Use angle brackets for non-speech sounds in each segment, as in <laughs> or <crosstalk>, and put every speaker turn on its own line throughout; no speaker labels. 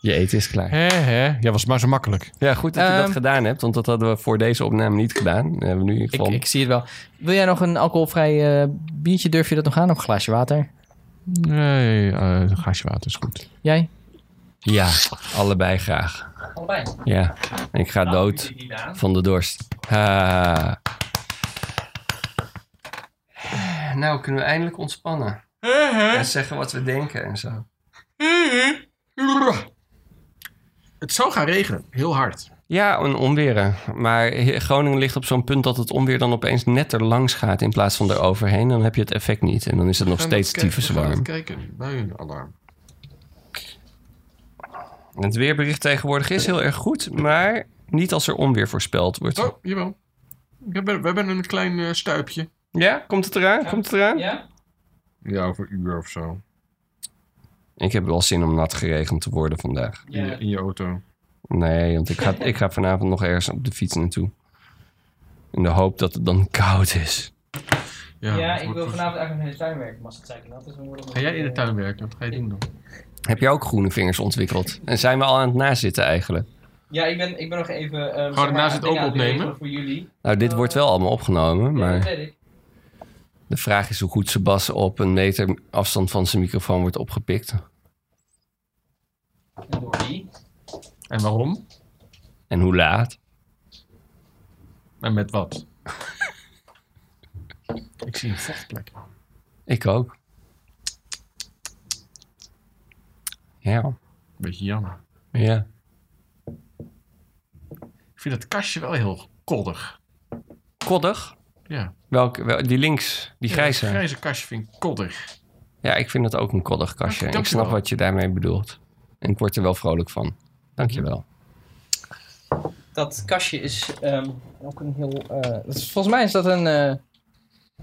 Je eten is klaar.
Hè, hè. Ja, was maar zo makkelijk.
Ja, goed dat je dat
Ehm,
gedaan hebt, want dat hadden we voor deze opname niet gedaan. Dat hebben we nu
Ik,
van.
ik zie het wel. Wil jij nog een alcoholvrij eh, biertje? Durf je dat nog aan? Of een glaasje water?
Nee, eh, een glaasje water is goed.
Jij?
Ja, allebei graag.
Allebei.
Ja, ik ga dood van de dorst. Ah. Nou kunnen we eindelijk ontspannen. En zeggen wat we denken en zo.
Het zou gaan regenen, heel hard.
Ja, een onweren. Maar he- Groningen ligt op zo'n punt dat het onweer dan opeens net er langs gaat in plaats van er overheen. Dan heb je het effect niet. En dan is het nog steeds tyfus warm.
Kijken, buienalarm.
Het weerbericht tegenwoordig is heel erg goed, maar niet als er onweer voorspeld wordt.
Oh, jawel. We hebben, we hebben een klein eh, stuipje.
Ja, komt het eraan? Komt het eraan?
Ja?
Ja, over een uur of zo.
Ik heb wel zin om nat geregend te worden vandaag.
In, je, in je auto.
Nee, want ik ga, ik ga vanavond nog ergens op de fiets naartoe. In de hoop dat het dan koud is.
Ja, dat wordt- dus-
eigenlijk in de tuin werken. Maar als het zeker nat is, dan wordt
Ga jij in de tuin werken? Wat ga je doen dan?
Heb jij ook groene vingers ontwikkeld? En zijn we al aan het nazitten eigenlijk?
eh, Ja, ik ben, ik ben nog even... eh,
we daarnaast het ook opnemen?
Voor jullie.
Nou, dit wordt wel allemaal opgenomen, maar
weet ik.
de vraag is hoe goed Sebas op een meter afstand van zijn microfoon wordt opgepikt.
Door wie?
En waarom?
En hoe laat?
En met wat? <laughs> Ik zie een vochtplek.
Ik ook. Ja,
Beetje jammer.
ja.
Ik vind dat kastje wel heel koddig.
Koddig?
Ja.
Welke, wel, die links, die grijze.
Ja, dat grijze kastje vind ik koddig.
Ja, ik vind dat ook een koddig kastje.
Ja,
ik snap
dankjewel.
wat je daarmee bedoelt. En ik word er wel vrolijk van. Dankjewel.
Dat kastje is ehm, ook een heel... eh, dat is- volgens mij is dat een... eh,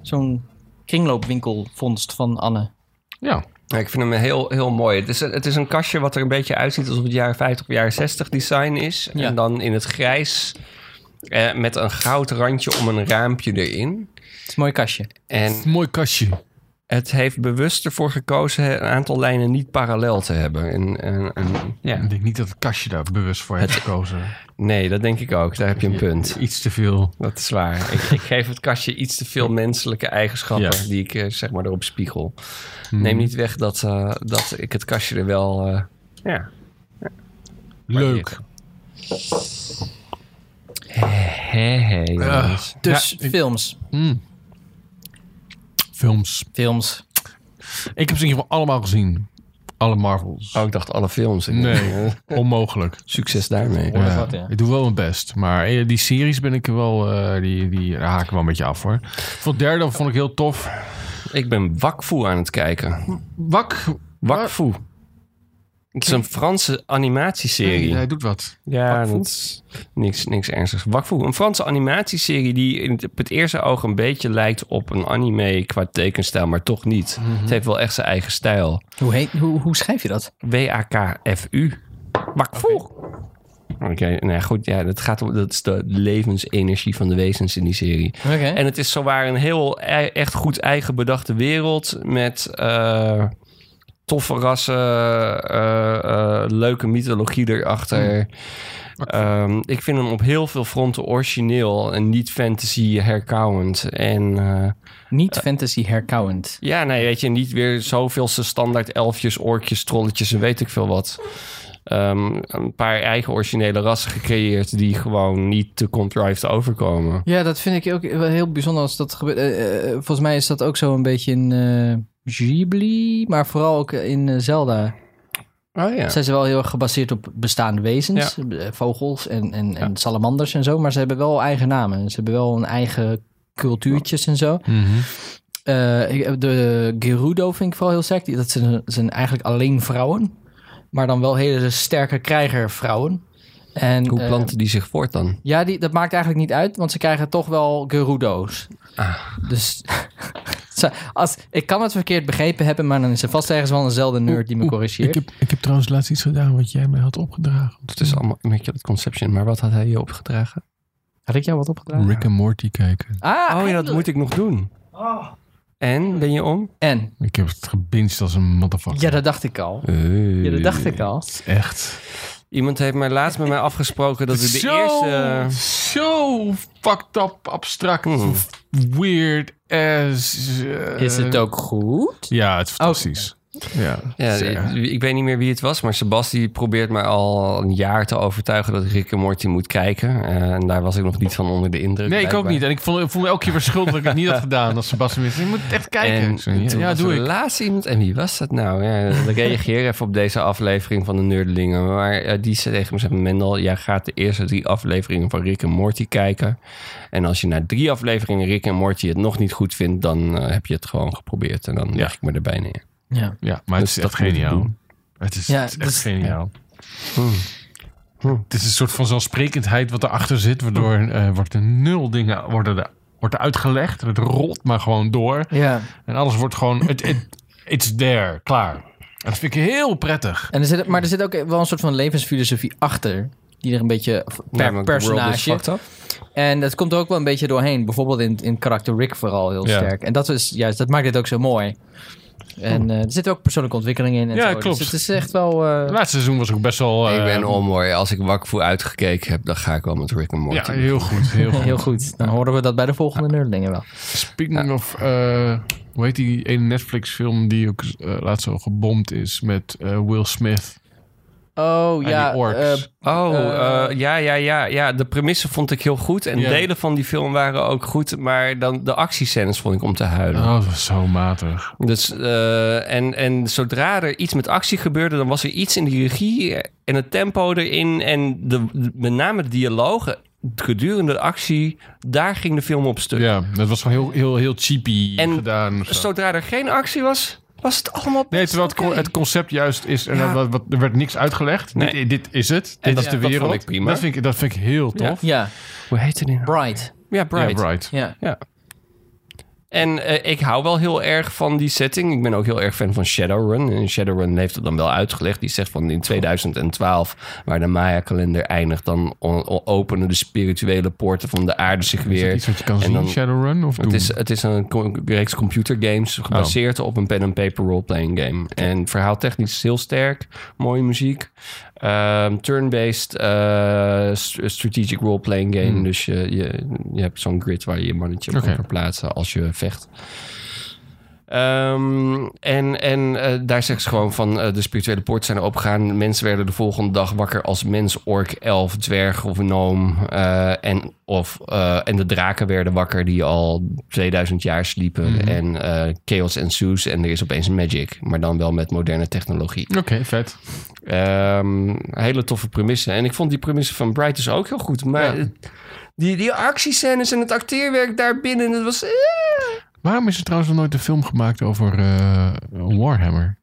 Zo'n kringloopwinkelvondst van Anne.
Ja.
Ja, ik vind hem heel, heel mooi. Het is, het is een kastje wat er een beetje uitziet alsof het jaren 50 of jaren 60 design is.
Ja.
En dan in het grijs eh, met een goud randje om een raampje erin.
Het is een mooi kastje.
En
Mooi kastje.
het heeft bewust ervoor gekozen een aantal lijnen niet parallel te hebben. En, en, en- ja.
Ik denk niet dat het kastje daar bewust voor heeft gekozen.
Nee, dat denk ik ook. Daar heb je een punt.
Iets te veel.
Dat is waar. ik, ik geef het kastje iets te veel menselijke eigenschappen
Ja.
die ik eh, zeg maar erop spiegel. Neem niet weg dat, eh, dat ik het kastje er wel. eh, ja.
Leuk.
Hé, hé. jongens.
Dus
Ah, Ja, ik-
films.
Films.
Films.
Ik heb ze in ieder geval allemaal gezien. Alle Marvels.
Oh, ik dacht alle films. Ik denk,
Nee,
eh,
onmogelijk.
Succes daarmee.
Hoor je wat, ja.
Ik doe wel mijn best. Maar eh, die series ben ik er wel, eh, die, die daar haak ik wel een beetje af hoor. Vond derde vond ik heel tof.
Ik ben Wakfu aan het kijken.
Wak.
Wakfu. Het is een Franse animatieserie.
Nee, hij doet wat.
Ja,
Wakfu?
dat is niks, niks ernstigs. Wakfu, een Franse animatieserie die in het- op het eerste oog een beetje lijkt op een anime qua tekenstijl, maar toch niet. Het heeft wel echt zijn eigen stijl.
Hoe, heet, hoe, hoe schrijf je dat?
W-A-K-F-U. Wakfu. Oké, nou ja, goed. Ja, dat, gaat om, dat is de levensenergie van de wezens in die serie.
Oké.
En het is zowaar een heel e- echt goed eigen bedachte wereld met eh, toffe rassen, eh, eh, leuke mythologie erachter. Ehm, ik vind hem op heel veel fronten origineel en niet fantasy herkauwend. En eh,
Niet fantasy herkauwend.
ja, nee, weet je, niet weer zoveelste standaard elfjes, orkjes, trolletjes en weet ik veel wat. Ehm, een paar eigen originele rassen gecreëerd die gewoon niet te contrived overkomen.
Ja, dat vind ik ook wel heel bijzonder als dat gebeurt. Eh, eh, volgens mij is dat ook zo een beetje in eh, Ghibli, maar vooral ook in eh, Zelda.
Oh ja.
Zijn ze wel heel erg gebaseerd op bestaande wezens, eh, vogels en, en, en salamanders en zo. Maar ze hebben wel eigen namen. Ze hebben wel een eigen cultuurtjes en zo. Eh, ik- de Gerudo vind ik vooral heel sterk. Die- Dat zijn, zijn eigenlijk alleen vrouwen, maar dan wel hele sterke krijgervrouwen. En,
Hoe
eh,
planten die zich voort dan?
ja, die, dat maakt eigenlijk niet uit, want ze krijgen toch wel Gerudo's. Dus <laughs> ze- als, ik kan het verkeerd begrepen hebben, maar dan is er vast ergens wel eenzelfde nerd die me corrigeert.
heb, ik heb trouwens laatst iets gedaan wat jij mij had opgedragen.
Het is allemaal een beetje dat Conception, maar wat had hij je opgedragen?
Had ik jou wat opgedragen?
Rick en Morty kijken.
Ah,
Oh ja, dat moet ik nog doen. En, ben je om?
En?
Ik heb het gebinged als een motherfucker.
Ja, dat dacht ik al.
Eh.
Ja, dat dacht ik al.
Echt.
Iemand heeft mij laatst met mij afgesproken dat ik de
zo,
eerste... Hmm.
zo fucked up, abstract,
Oeh.
weird as... eh,
Is het ook goed?
Ja,
Oh,
het is fantastisch. Ja,
Ja,
zeker.
ik, ik weet niet meer wie het was, maar Sebasti probeert mij al een jaar te overtuigen dat ik Rick en Morty moet kijken. Eh, en daar was ik nog niet van onder de indruk.
Nee, ik ook
blijkbaar.
niet. En ik voel, ik voel me elke keer weer schuldig dat ik het niet had gedaan. Als Sebastian wist, je moet echt kijken. Ik zei,
En
ja,
toen
ja,
was
doe
er
ik.
laatst iemand, en wie was dat nou? Ja, ik reageer even op deze aflevering van de Nerdelingen. Maar eh, die zei tegen me, zei, Mendel, jij gaat de eerste drie afleveringen van Rick en Morty kijken. En als je na drie afleveringen Rick en Morty het nog niet goed vindt, dan eh, heb je het gewoon geprobeerd. En dan
Ja.
leg ik me erbij neer.
Ja.
Ja, maar het
Dus
is
dat
echt
moet je
geniaal.
doen.
Het is,
Ja,
het is echt
dat is-
geniaal.
Hmm.
Hmm. Het is een soort van zelfsprekendheid wat erachter zit, waardoor
Hmm.
eh, wordt er nul dingen worden er, wordt er uitgelegd. Het rolt maar gewoon door.
ja.
En alles wordt gewoon, it, it, it's there, klaar. En dat vind ik heel prettig.
En er zit, maar er zit ook wel een soort van levensfilosofie achter. Die er een beetje per
Namelijk, the world is
personage.
fucked up.
En dat komt er ook wel een beetje doorheen. Bijvoorbeeld in, in karakter Rick vooral heel
Ja.
sterk. En dat, is, juist, dat maakt dit ook zo mooi. En eh, er zit ook persoonlijke ontwikkeling in. En
Oh. Ja,
zo.
klopt.
Dus het is echt wel... eh,
Het laatste seizoen was ook best wel...
ik
eh,
ben om hoor. Als ik Wakfu uitgekeken heb, dan ga ik wel met Rick en Morty.
Ja, heel goed. Heel goed.
<laughs> heel goed. Dan horen we dat bij de volgende nerdlingen wel.
Speaking of, eh, hoe heet die ene Netflix film die ook eh, laatst zo gebomd is met eh, Will Smith?
Oh
En
ja.
die orks.
eh,
Oh,
Eh,
eh, ja, ja, ja, ja. De premissen vond ik heel goed. En
Ja.
delen van die film waren ook goed. Maar dan de actiescènes vond ik om te huilen.
oh, dat was zo matig.
Dus, eh, en, en zodra er iets met actie gebeurde, dan was er iets in de regie en het tempo erin. En de, de- met name de dialogen gedurende de actie, daar ging de film op stuk.
Ja, dat was gewoon heel, heel, heel cheapy
En
gedaan. of zo.
Zodra er geen actie was, was het allemaal
Nee,
best
terwijl het,
oké.
co- het concept juist is... En
Ja.
dat- wat, wat- er werd niks uitgelegd.
Nee.
Dit, dit is het.
En
Dit
dat-
is de
dat vond
wereld.
ik prima.
Dat vind ik, dat vind ik heel
Ja.
tof.
ja,
Hoe heet het in?
Bright.
Ja,
Ja,
Bright.
Bright.
Ja.
En eh, ik hou wel heel erg van die setting. Ik ben ook heel erg fan van Shadowrun. En Shadowrun heeft het dan wel uitgelegd. Die zegt van in 2012, waar de Maya-kalender eindigt... dan o- o- openen de spirituele poorten van de aarde zich
Is dat
weer.
iets wat je kan
En
zien,
dan-
Shadowrun? Of
Het is, het is een co- reeks computergames gebaseerd
Oh.
op een pen-and-paper role-playing game. En verhaaltechnisch is heel sterk. Mooie muziek. Ehm, turn-based eh, st- strategic role-playing game.
Hmm.
Dus je, je, je hebt zo'n grid waar je je mannetje op
Oké.
kan verplaatsen als je vecht. Ehm, en en eh, daar zegt ze gewoon van eh, de spirituele poorten zijn opgegaan. Mensen werden de volgende dag wakker als mens, ork, elf, dwerg of gnoom. Eh, en, of, eh, en de draken werden wakker die al 2000 jaar sliepen.
Mhm.
En eh, chaos ensues en er is opeens magic. Maar dan wel met moderne technologie.
Oké, vet.
Ehm, hele toffe premissen. En ik vond die premissen van Bright dus ook heel goed. Maar
Ja.
eh, die, die actiescènes en het acteerwerk daarbinnen, dat was... eh.
Waarom is er trouwens nog nooit een film gemaakt over eh, Warhammer?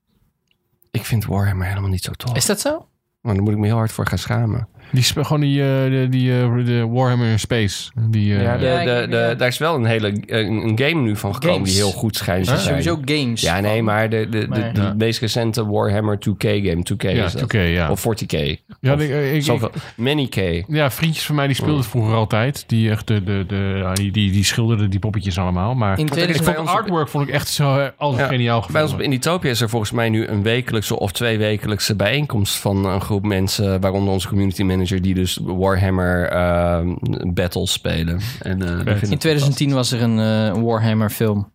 Ik vind Warhammer helemaal niet zo tof.
Is dat zo?
Maar daar moet ik me heel hard voor gaan schamen.
Die spe- gewoon die, eh, de, die eh, de Warhammer in Space. Die, eh,
ja, de,
Ja, ik-
de, de-
ja.
Daar is wel een hele een, een game nu van gekomen
Games.
die heel goed schijnt te
Ja,
zijn.
Sowieso games.
Ja, nee, maar de, de, de,
Maar-
de
Ja.
meest recente Warhammer 2K game, 2K
ja,
is dat.
2K, ja.
Of 40K.
ja,
of
ik- eh, ik- ik-
Zoveel. Oh. Many K.
ja, vriendjes van mij die speelden het vroeger altijd. Die, echt de, de, de, ja, die, die, die schilderden die poppetjes allemaal. Maar
In
ik
2000
vond het artwork vond ik echt zo eh, altijd
Ja,
geniaal
Bij ons op
gevonden.
Inditopia is er volgens mij nu een wekelijkse of twee wekelijkse bijeenkomst van een groep mensen, waaronder onze community manager, die dus Warhammer ehm, battles spelen. En, eh, die vinden
In
het
2010 was er een eh, Warhammer film.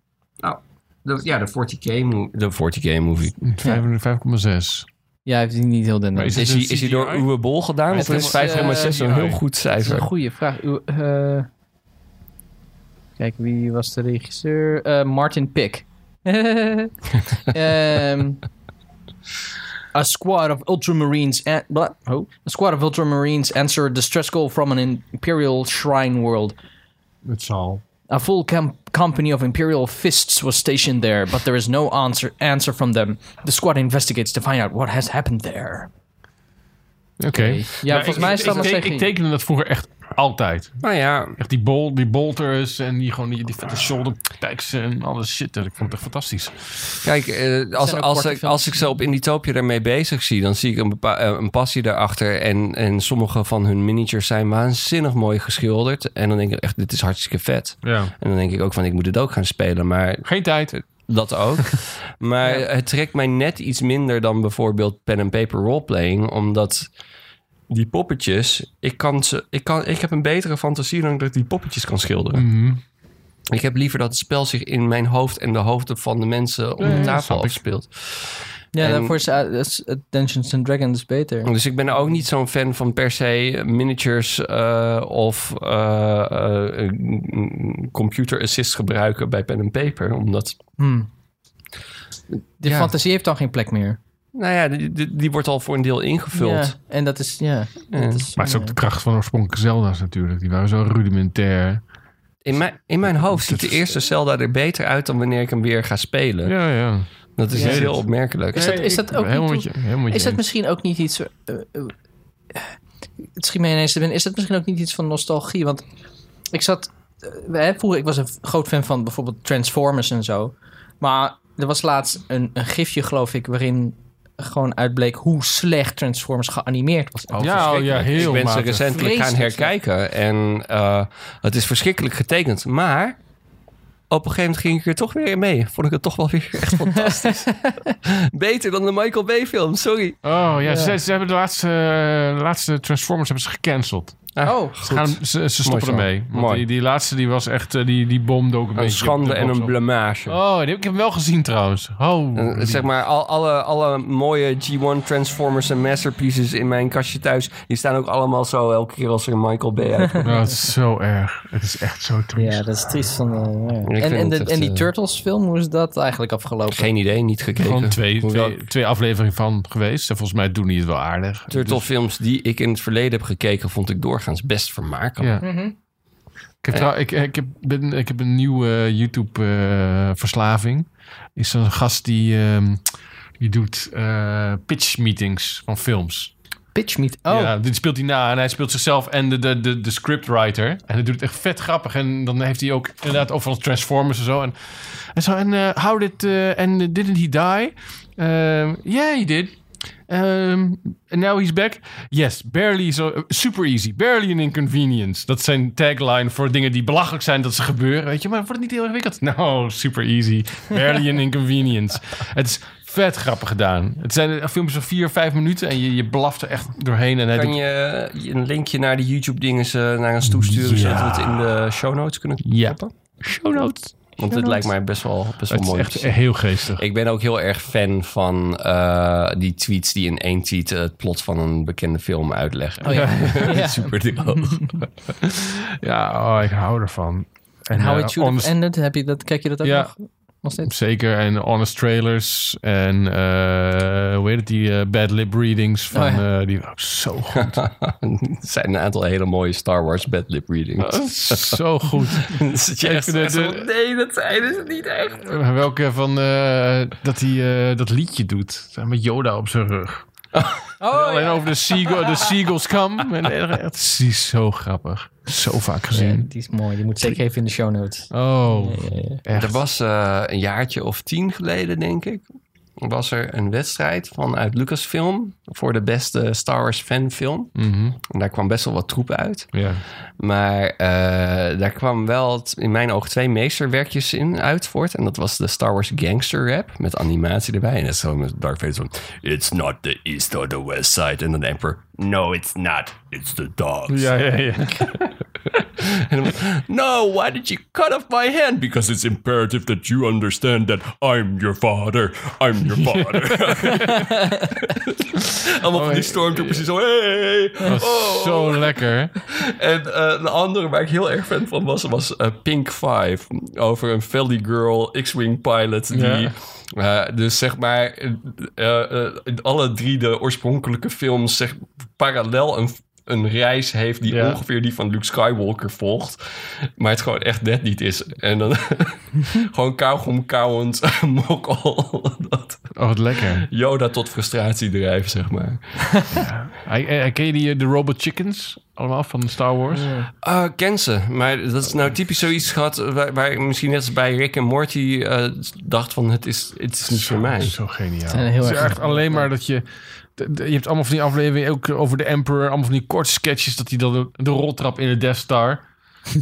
fantastisch. Ja, de 40K, mo- de 40K movie.
Vijf- 5,6.
Ja, hij heeft die niet heel den.
Maar
Dat
is
Is,
het
die,
een
is die door
CGI?
Uwe Bol gedaan?
Hij
Of
is
is 5,6
helemaal-
een heel
CGI.
goed
is een
cijfer?
goede vraag. Uw- eh, kijk, wie was de regisseur? Eh, Martin Pick. <laughs> Ehm, a squad of ultramarines and bla- oh. a squad of ultramarines answer a distress call from an imperial shrine world.
Het zal.
A full com- company of Imperial fists was stationed there, but there is no answer answer from them. The squad investigates to find out what has happened there.
Oké.
Ja, volgens mij is dat
ik,
nog
ik,
steeds
ik
niet.
tekende dat vroeger echt Altijd.
Nou ja,
Echt die, bol, die bolters en die, gewoon die, die vette shoulder packs en alles shit. Ik vond het echt fantastisch.
Kijk, eh, als,
ook
als,
korte
ik,
films.
als ik ze op Inditopia daarmee bezig zie, dan zie ik een, bepa- eh, een passie daarachter. En, en sommige van hun miniatures zijn waanzinnig mooi geschilderd. En dan denk ik echt, dit is hartstikke vet.
Ja.
En dan denk ik ook van, ik moet het ook gaan spelen. Maar
Geen tijd.
dat
<laughs>
ook. maar het trekt mij net iets minder dan bijvoorbeeld pen and paper roleplaying. Omdat die poppetjes, ik, kan ze, ik, kan, ik heb een betere fantasie dan dat ik die poppetjes kan schilderen.
Mhm.
Ik heb liever dat het spel zich in mijn hoofd en de hoofden van de mensen om
Ja,
de
ja,
tafel
snap ik.
afspeelt.
Ja,
En-
daarvoor is eh, is, eh, Dungeons and Dragons beter.
Dus ik ben ook niet zo'n fan van per se miniatures eh, of eh, eh, mm, computer assist gebruiken bij pen en paper. Omdat,
Hmm. De
Ja.
fantasie heeft dan geen plek meer.
nou ja, die, die, die wordt al voor een deel ingevuld.
Ja, en dat is, ja.
Ja.
Dat is
Maar het is ook de kracht van oorspronkelijke Zelda's natuurlijk. Die waren zo rudimentair.
In, mijn, in mijn hoofd ziet
Dat
de
is-
eerste Zelda er beter uit dan wanneer ik hem weer ga spelen.
Ja, ja.
Dat is
Ja.
heel opmerkelijk.
Is dat, is dat ook
helemaal
niet-
met je, helemaal met
Is
je eens.
dat misschien ook niet iets... eh, eh, het schiet me ineens te binnen. Is dat misschien ook niet iets van nostalgie? Want ik zat... eh, hè, vroeger, ik was een groot fan van bijvoorbeeld Transformers en zo. Maar er was laatst een, een gifje, geloof ik, waarin gewoon uitbleek hoe slecht Transformers geanimeerd was.
Oh,
Ja,
verschrikkelijk.
oh ja, heel
Ik ben ze
matig.
recentelijk gaan
Vreselijk slecht.
herkijken. En eh, het is verschrikkelijk getekend. Maar op een gegeven moment ging ik er toch weer in mee. Vond ik het toch wel weer
<laughs>
echt fantastisch. Beter dan de Michael Bay film, sorry.
Oh ja,
Ja.
Ze, ze hebben de laatste, eh, laatste Transformers hebben ze gecanceld.
Ah,
Oh.
Ze, gaan, ze, ze stoppen
Mooi zo.
ermee. Want
Mooi.
Die, die laatste die was echt, eh, die, die bomde ook een
Een
beetje.
schande
op de
en
box
een
op.
blamage.
Oh, die heb ik heb hem wel gezien trouwens. Oh,
Eh, Zeg maar, al, alle, alle mooie G1 Transformers en Masterpieces in mijn kastje thuis... die staan ook allemaal zo elke keer als er een Michael Bay uit.
Ja, het is zo erg. Het is echt zo triest.
dat is triest. Van,
Ik
En,
vind
en,
het
de-
echt,
en die
eh,
Turtles film, hoe is dat eigenlijk afgelopen?
<laughs> Geen idee, niet gekeken.
Gewoon twee,
Hoewel-
twee, twee afleveringen van geweest. En volgens mij doen die het wel aardig.
Turtle-films die ik in het verleden heb gekeken, vond ik doorgaans best vermakelijk.
Ja.
Mhm.
Ik heb, trouw- ik, ik, heb, ben, ik heb een nieuwe eh, YouTube-verslaving. is een gast die, ehm, die doet eh, pitch meetings van films.
Pitch meet. Oh,
Ja, dit speelt hij na en hij speelt zichzelf en de, de, de, de scriptwriter. En hij doet het echt vet grappig. En dan heeft hij ook inderdaad overal Transformers en zo. En, en zo, en eh, how did, eh, and didn't he die? Ehm yeah, he did. Ehm, and now he's back. Yes, barely so, super easy. Barely an inconvenience. Dat zijn tagline voor dingen die belachelijk zijn dat ze gebeuren. Weet je, maar wordt het niet heel ingewikkeld? <laughs> No, super easy. Barely an <laughs> inconvenience. Het is vet grappig gedaan. Het zijn eh, filmpjes van vier, vijf minuten en je, je blaft er echt doorheen. En hij
Kan
doet,
je eh, een linkje naar de YouTube-dingen eh, naar ons toesturen,
Ja.
zodat we het in de show notes kunnen
Ja.
klappen?
show notes.
Want dit lijkt mij best wel, best wel
Het is
mooi.
echt heel geestig.
Ik ben ook heel erg fan van eh, die tweets die in één tweet het plot van een bekende film uitleggen.
oh ja.
<laughs>
ja.
Super
<laughs>
droog.
Ja, oh, ik hou ervan. En,
En How
eh,
It Should
honest-
Have Ended, heb je dat, kijk je dat ook
Ja.
nog? nog steeds?
Zeker, en Honest Trailers en eh, hoe heet het, die eh, Bad Lip Readings van
Oh ja.
eh, die waren ook zo
<laughs>
goed.
er zijn een aantal hele mooie Star Wars bedlip readings.
Oh.
<laughs>
<laughs> zo goed.
Zit je echt
Ik vind
echt
het,
zo,
eh,
nee, dat zijn ze niet echt.
Eh, Welke van eh, dat hij eh, dat liedje doet eh, met Yoda op zijn rug.
Oh,
<laughs> Alleen over de, seagull, de Seagulls
<laughs>
Come. En, eh, het is die zo grappig. Zo vaak gezien.
die is mooi. Die moet zeker even in de show notes.
Oh, echt.
Er was eh, een jaartje of tien geleden, denk ik, was er een wedstrijd vanuit Lucasfilm voor de beste Star Wars fanfilm.
Mhm,
En daar kwam best wel wat troep uit.
Ja.
Maar eh, daar kwam wel t- in mijn oog twee meesterwerkjes in uit voort. En dat was de Star Wars Gangster Rap met animatie erbij. En dat is zo met Darth Vader zo... It's not the east or the west side. En dan de Emperor... No, it's not. It's the dogs.
Ja, ja, ja.
<laughs> En dan, no, why did you cut off my hand? Because it's imperative that you understand that I'm your father. I'm
<laughs>
your father. <laughs> Allemaal van die
Oh,
stormtroopers die zo... Hey,
Dat was
oh.
zo lekker.
En eh, een andere waar ik heel erg fan van was, was eh, Pink 5. Over een Valley Girl X-Wing pilot die...
Ja.
eh, dus zeg maar, eh, eh, eh, alle drie de oorspronkelijke films zeg, parallel een een reis heeft die
Ja.
ongeveer die van Luke Skywalker volgt. Maar het gewoon echt net niet is. En dan <laughs> gewoon kauwgom kauwend <laughs> mokkel. Dat
Oh, wat lekker.
Yoda tot frustratie drijft, zeg maar.
Hij- eh, Ken je die, eh, de Robot Chickens? Allemaal van Star Wars?
Eh, ken ze, maar dat is nou typisch zoiets gehad waar, waar ik misschien net als bij Rick en Morty eh, dacht van het is, het is niet voor mij.
Zo geniaal.
zijn heel
het is
erg-
echt alleen maar dat je... de- de- Je hebt allemaal van die afleveringen, ook over de Emperor, allemaal van die korte sketches, dat hij dan de, de roltrap in de Death Star...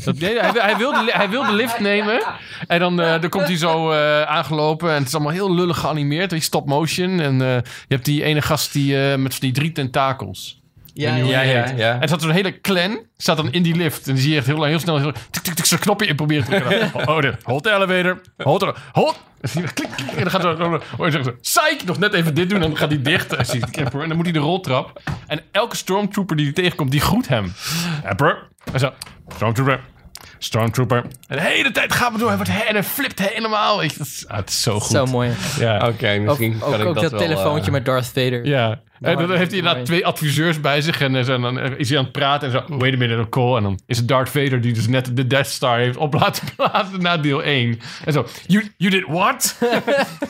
Dat, nee, hij, wil- hij, wil de, li- hij wil de lift nemen en dan, eh, dan komt hij zo eh, aangelopen en het is allemaal heel lullig geanimeerd, die stop motion. En eh, je hebt die ene gast die, eh, met van die drie tentakels.
Ja,
hoe
Ja,
die
ja,
heet.
ja.
En er zat zo'n hele clan, staat dan in die lift. En dan zie je echt heel, lang- heel snel heel, tik, tik, tik, zo'n knopje in proberen te drukken. Oh, dit. Hold the elevator. Hold the... Hold. En dan klik, klik, en dan gaat zo... hoor je zeggen zo... Psych! Nog net even dit doen. En dan gaat hij dicht. En ziet de Emperor. En dan moet hij de roltrap. En elke stormtrooper die hij tegenkomt, die groet hem. Emperor. En zo... Stormtrooper. Stormtrooper. En de hele tijd gaat het door. Hij wordt he- en hij flipt helemaal. Ik, dat is, ah, het is zo goed.
Zo mooi.
ja.
Oké, misschien
Ook,
kan ik
ook
dat,
dat,
wel,
telefoontje
eh,
met Darth Vader.
Ja. En dan
Mooi,
heeft hij inderdaad
mooi.
twee adviseurs bij zich en, eh, zo, en dan is hij aan het praten en zo, "Oh, wait a minute, call. En dan is het Darth Vader die dus net de Death Star heeft op laten <laughs> plaatsen na deel 1. En zo, you, you did what? <laughs>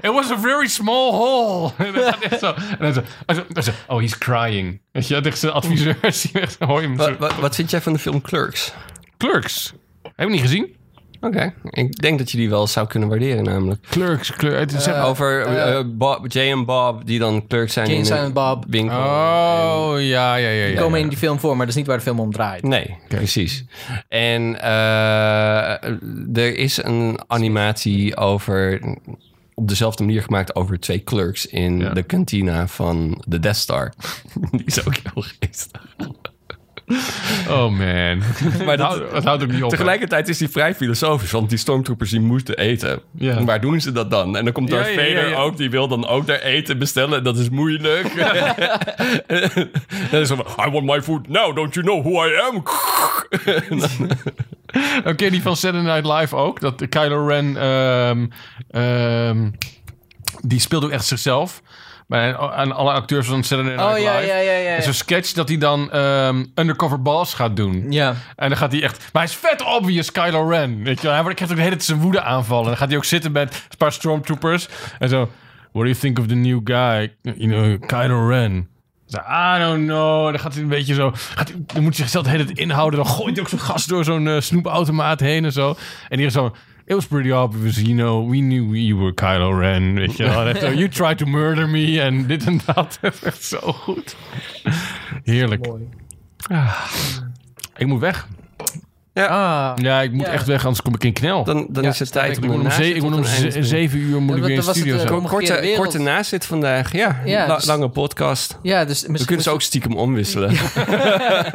It was a very small hole. <laughs> en dan gaat hij echt zo, en dan zo, en zo, en zo, oh, he's crying. Weet je, tegen zijn adviseurs, die echt, hoor je hem
Wa- wa-
zo.
Wat, vind jij van de film Clerks?
Clerks. Hebben we niet gezien?
Oké, ik denk dat je die wel zou kunnen waarderen namelijk.
Clerks, Clerks.
Over eh, Bob, Jay en Bob die dan Clerks zijn
Jane,
in
Silent
een
Bob
winkel.
oh, ja, ja, ja. ja.
komen in die film voor, maar dat is niet waar de film om draait.
Nee, precies. En eh, er is een animatie over, op dezelfde manier gemaakt, over twee clerks in
Ja.
de kantina van de Death Star. <laughs> Die is ook heel geestig.
Oh man.
Maar
Het
dat,
houdt- het houdt ook niet op. hè.
tegelijkertijd is die vrij filosofisch, want die stormtroopers die moesten eten.
Ja.
En Waar doen ze dat dan? En dan komt
Ja,
Darth
ja, ja,
Vader
ja.
ook, die wil dan ook daar eten bestellen. Dat is <laughs> moeilijk. en dan is het van, I want my food now, don't you know who I am?
Oké, die van Saturday Night Live ook. Dat Kylo Ren... ehm, ehm, die speelde ook echt zichzelf. Bij, aan alle acteurs van Saturday Night
Oh, ja,
Live.
ja, ja, ja, ja.
En Zo'n sketch dat hij dan ehm, undercover boss gaat doen.
Ja.
En dan gaat hij echt... Maar hij is vet obvious, Kylo Ren. Weet je wel. Hij wordt- krijgt ook de hele tijd zijn woede aanvallen. En dan gaat hij ook zitten met een paar stormtroopers. En zo... What do you think of the new guy? You know, Kylo Ren. Zo, I don't know. En Dan gaat hij een beetje zo... Gaat hij, dan moet hij zichzelf de hele tijd inhouden. Dan gooit hij ook zo'n gast door zo'n eh, snoepautomaat heen en zo. En die is zo... It was pretty obvious, you know. We knew you were Kylo Ren, weet je wel. En echt zo, you tried to murder me en dit en <laughs> dat. Dat is echt zo goed. Heerlijk. Ah. ik moet weg.
Ah.
Ja, ik moet
Ja.
echt weg, anders kom ik in knel.
Dan, dan
Ja,
is het tijd
ik
om
moet om,
een
ze- ik moet om ze- zeven uur moet
Ja,
ik weer in
dat
de
was
studio
het, eh,
zijn.
kom- Omgekeerde
Korte,
wereld.
korte nazit vandaag, ja.
Ja,
La-
dus-
lange podcast.
Ja, dus
We
misschien
kunnen ze ook stiekem omwisselen.
eh,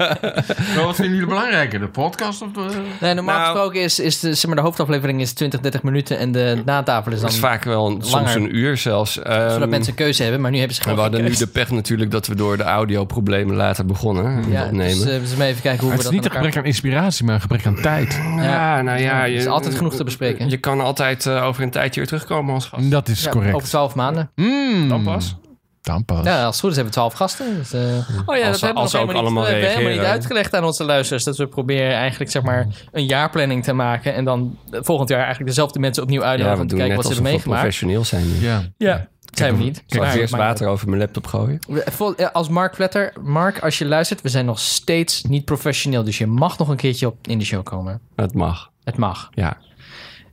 Maar wat vinden jullie belangrijker, de podcast of de...
Nee, normaal
Nou-
gesproken is, is de, zeg maar, de hoofdaflevering is 20, 30 minuten en de natafel is dan...
Dat is vaak wel een- soms
Langer.
een uur zelfs. Ehm,
Zodat mensen een keuze hebben, maar nu hebben ze
en we
gewoon
hadden
geen
nu
keuze.
de pech natuurlijk dat we door de audioproblemen later begonnen met
ja,
opnemen.
Dus eh, we zullen even kijken hoe
Maar
we
het is
dat
niet een
aan elkaar-
gebrek aan inspiratie, maar een gebrek aan tijd.
ja, nou ja.
er eh, is altijd genoeg te bespreken.
Je kan altijd eh, over een tijdje weer terugkomen als gast.
Dat is
Ja, Over
correct.
12 maanden.
Mm.
Dan pas.
Dan pas.
Ja, als het goed is hebben we 12 gasten. Dus, oh ja,
Als dat ze- hebben we als nog ze ook helemaal niet- allemaal
we
we hebben helemaal
helemaal
reageren.
niet
niet
uitgelegd aan onze luisteraars. Dat we proberen eigenlijk zeg maar een jaarplanning te maken. En dan volgend jaar eigenlijk dezelfde mensen opnieuw uitnodigen
Ja, we
om te
doen
kijken
net
wat ze
alsof
hebben
we
meegemaakt.
professioneel zijn. nu.
Ja.
Ja, zijn we niet.
Ik zal
Maar-
eerst
maar-
water over mijn laptop gooien.
We- vol- eh, Als Mark Platter, Mark, als je luistert, we zijn nog steeds niet professioneel. Dus je mag nog een keertje op, in de show komen.
Dat mag,
Het mag.
ja.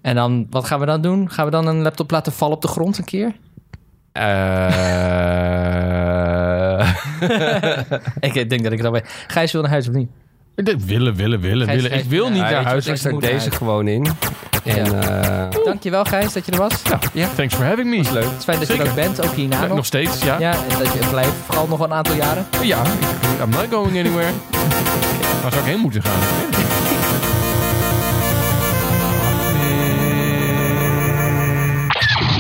En dan, wat gaan we dan doen? Gaan we dan een laptop laten vallen op de grond een keer? <laughs>
Eh,
Ik eh, denk dat ik dat bij. Gijs wil naar huis of niet?
Dit willen, willen, willen,
Gijs,
willen. Ik
Gijs,
wil
ja.
niet
ja,
naar
weet
huis.
je, Ik
Ik
zet
moet
deze
uit.
gewoon in. En eh,
Dankjewel Gijs dat je er was. Ja,
Thanks for having me.
leuk.
Het is fijn dat je er
Zeker.
ook bent, ook hierna nog.
Nog steeds, ja.
Ja, en dat je blijft vooral nog een aantal jaren.
Ja, I'm not going anywhere. Waar zou ik heen moeten gaan?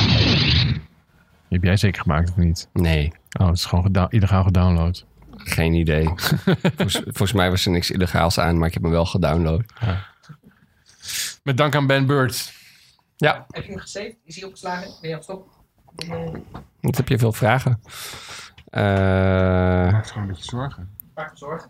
Die heb jij zeker gemaakt of niet?
Nee,
Oh, het is gewoon geda- illegaal gedownload.
geen <laughs> idee. volgens, volgens mij was er niks illegaals aan, maar ik heb hem wel gedownload.
Met dank aan Ben Bird.
Ja,
Heb je hem gesaved? Is hij opgeslagen? Nee, op stop.
wat heb je veel vragen? Eh,
Gewoon een beetje zorgen.
Pak zorg.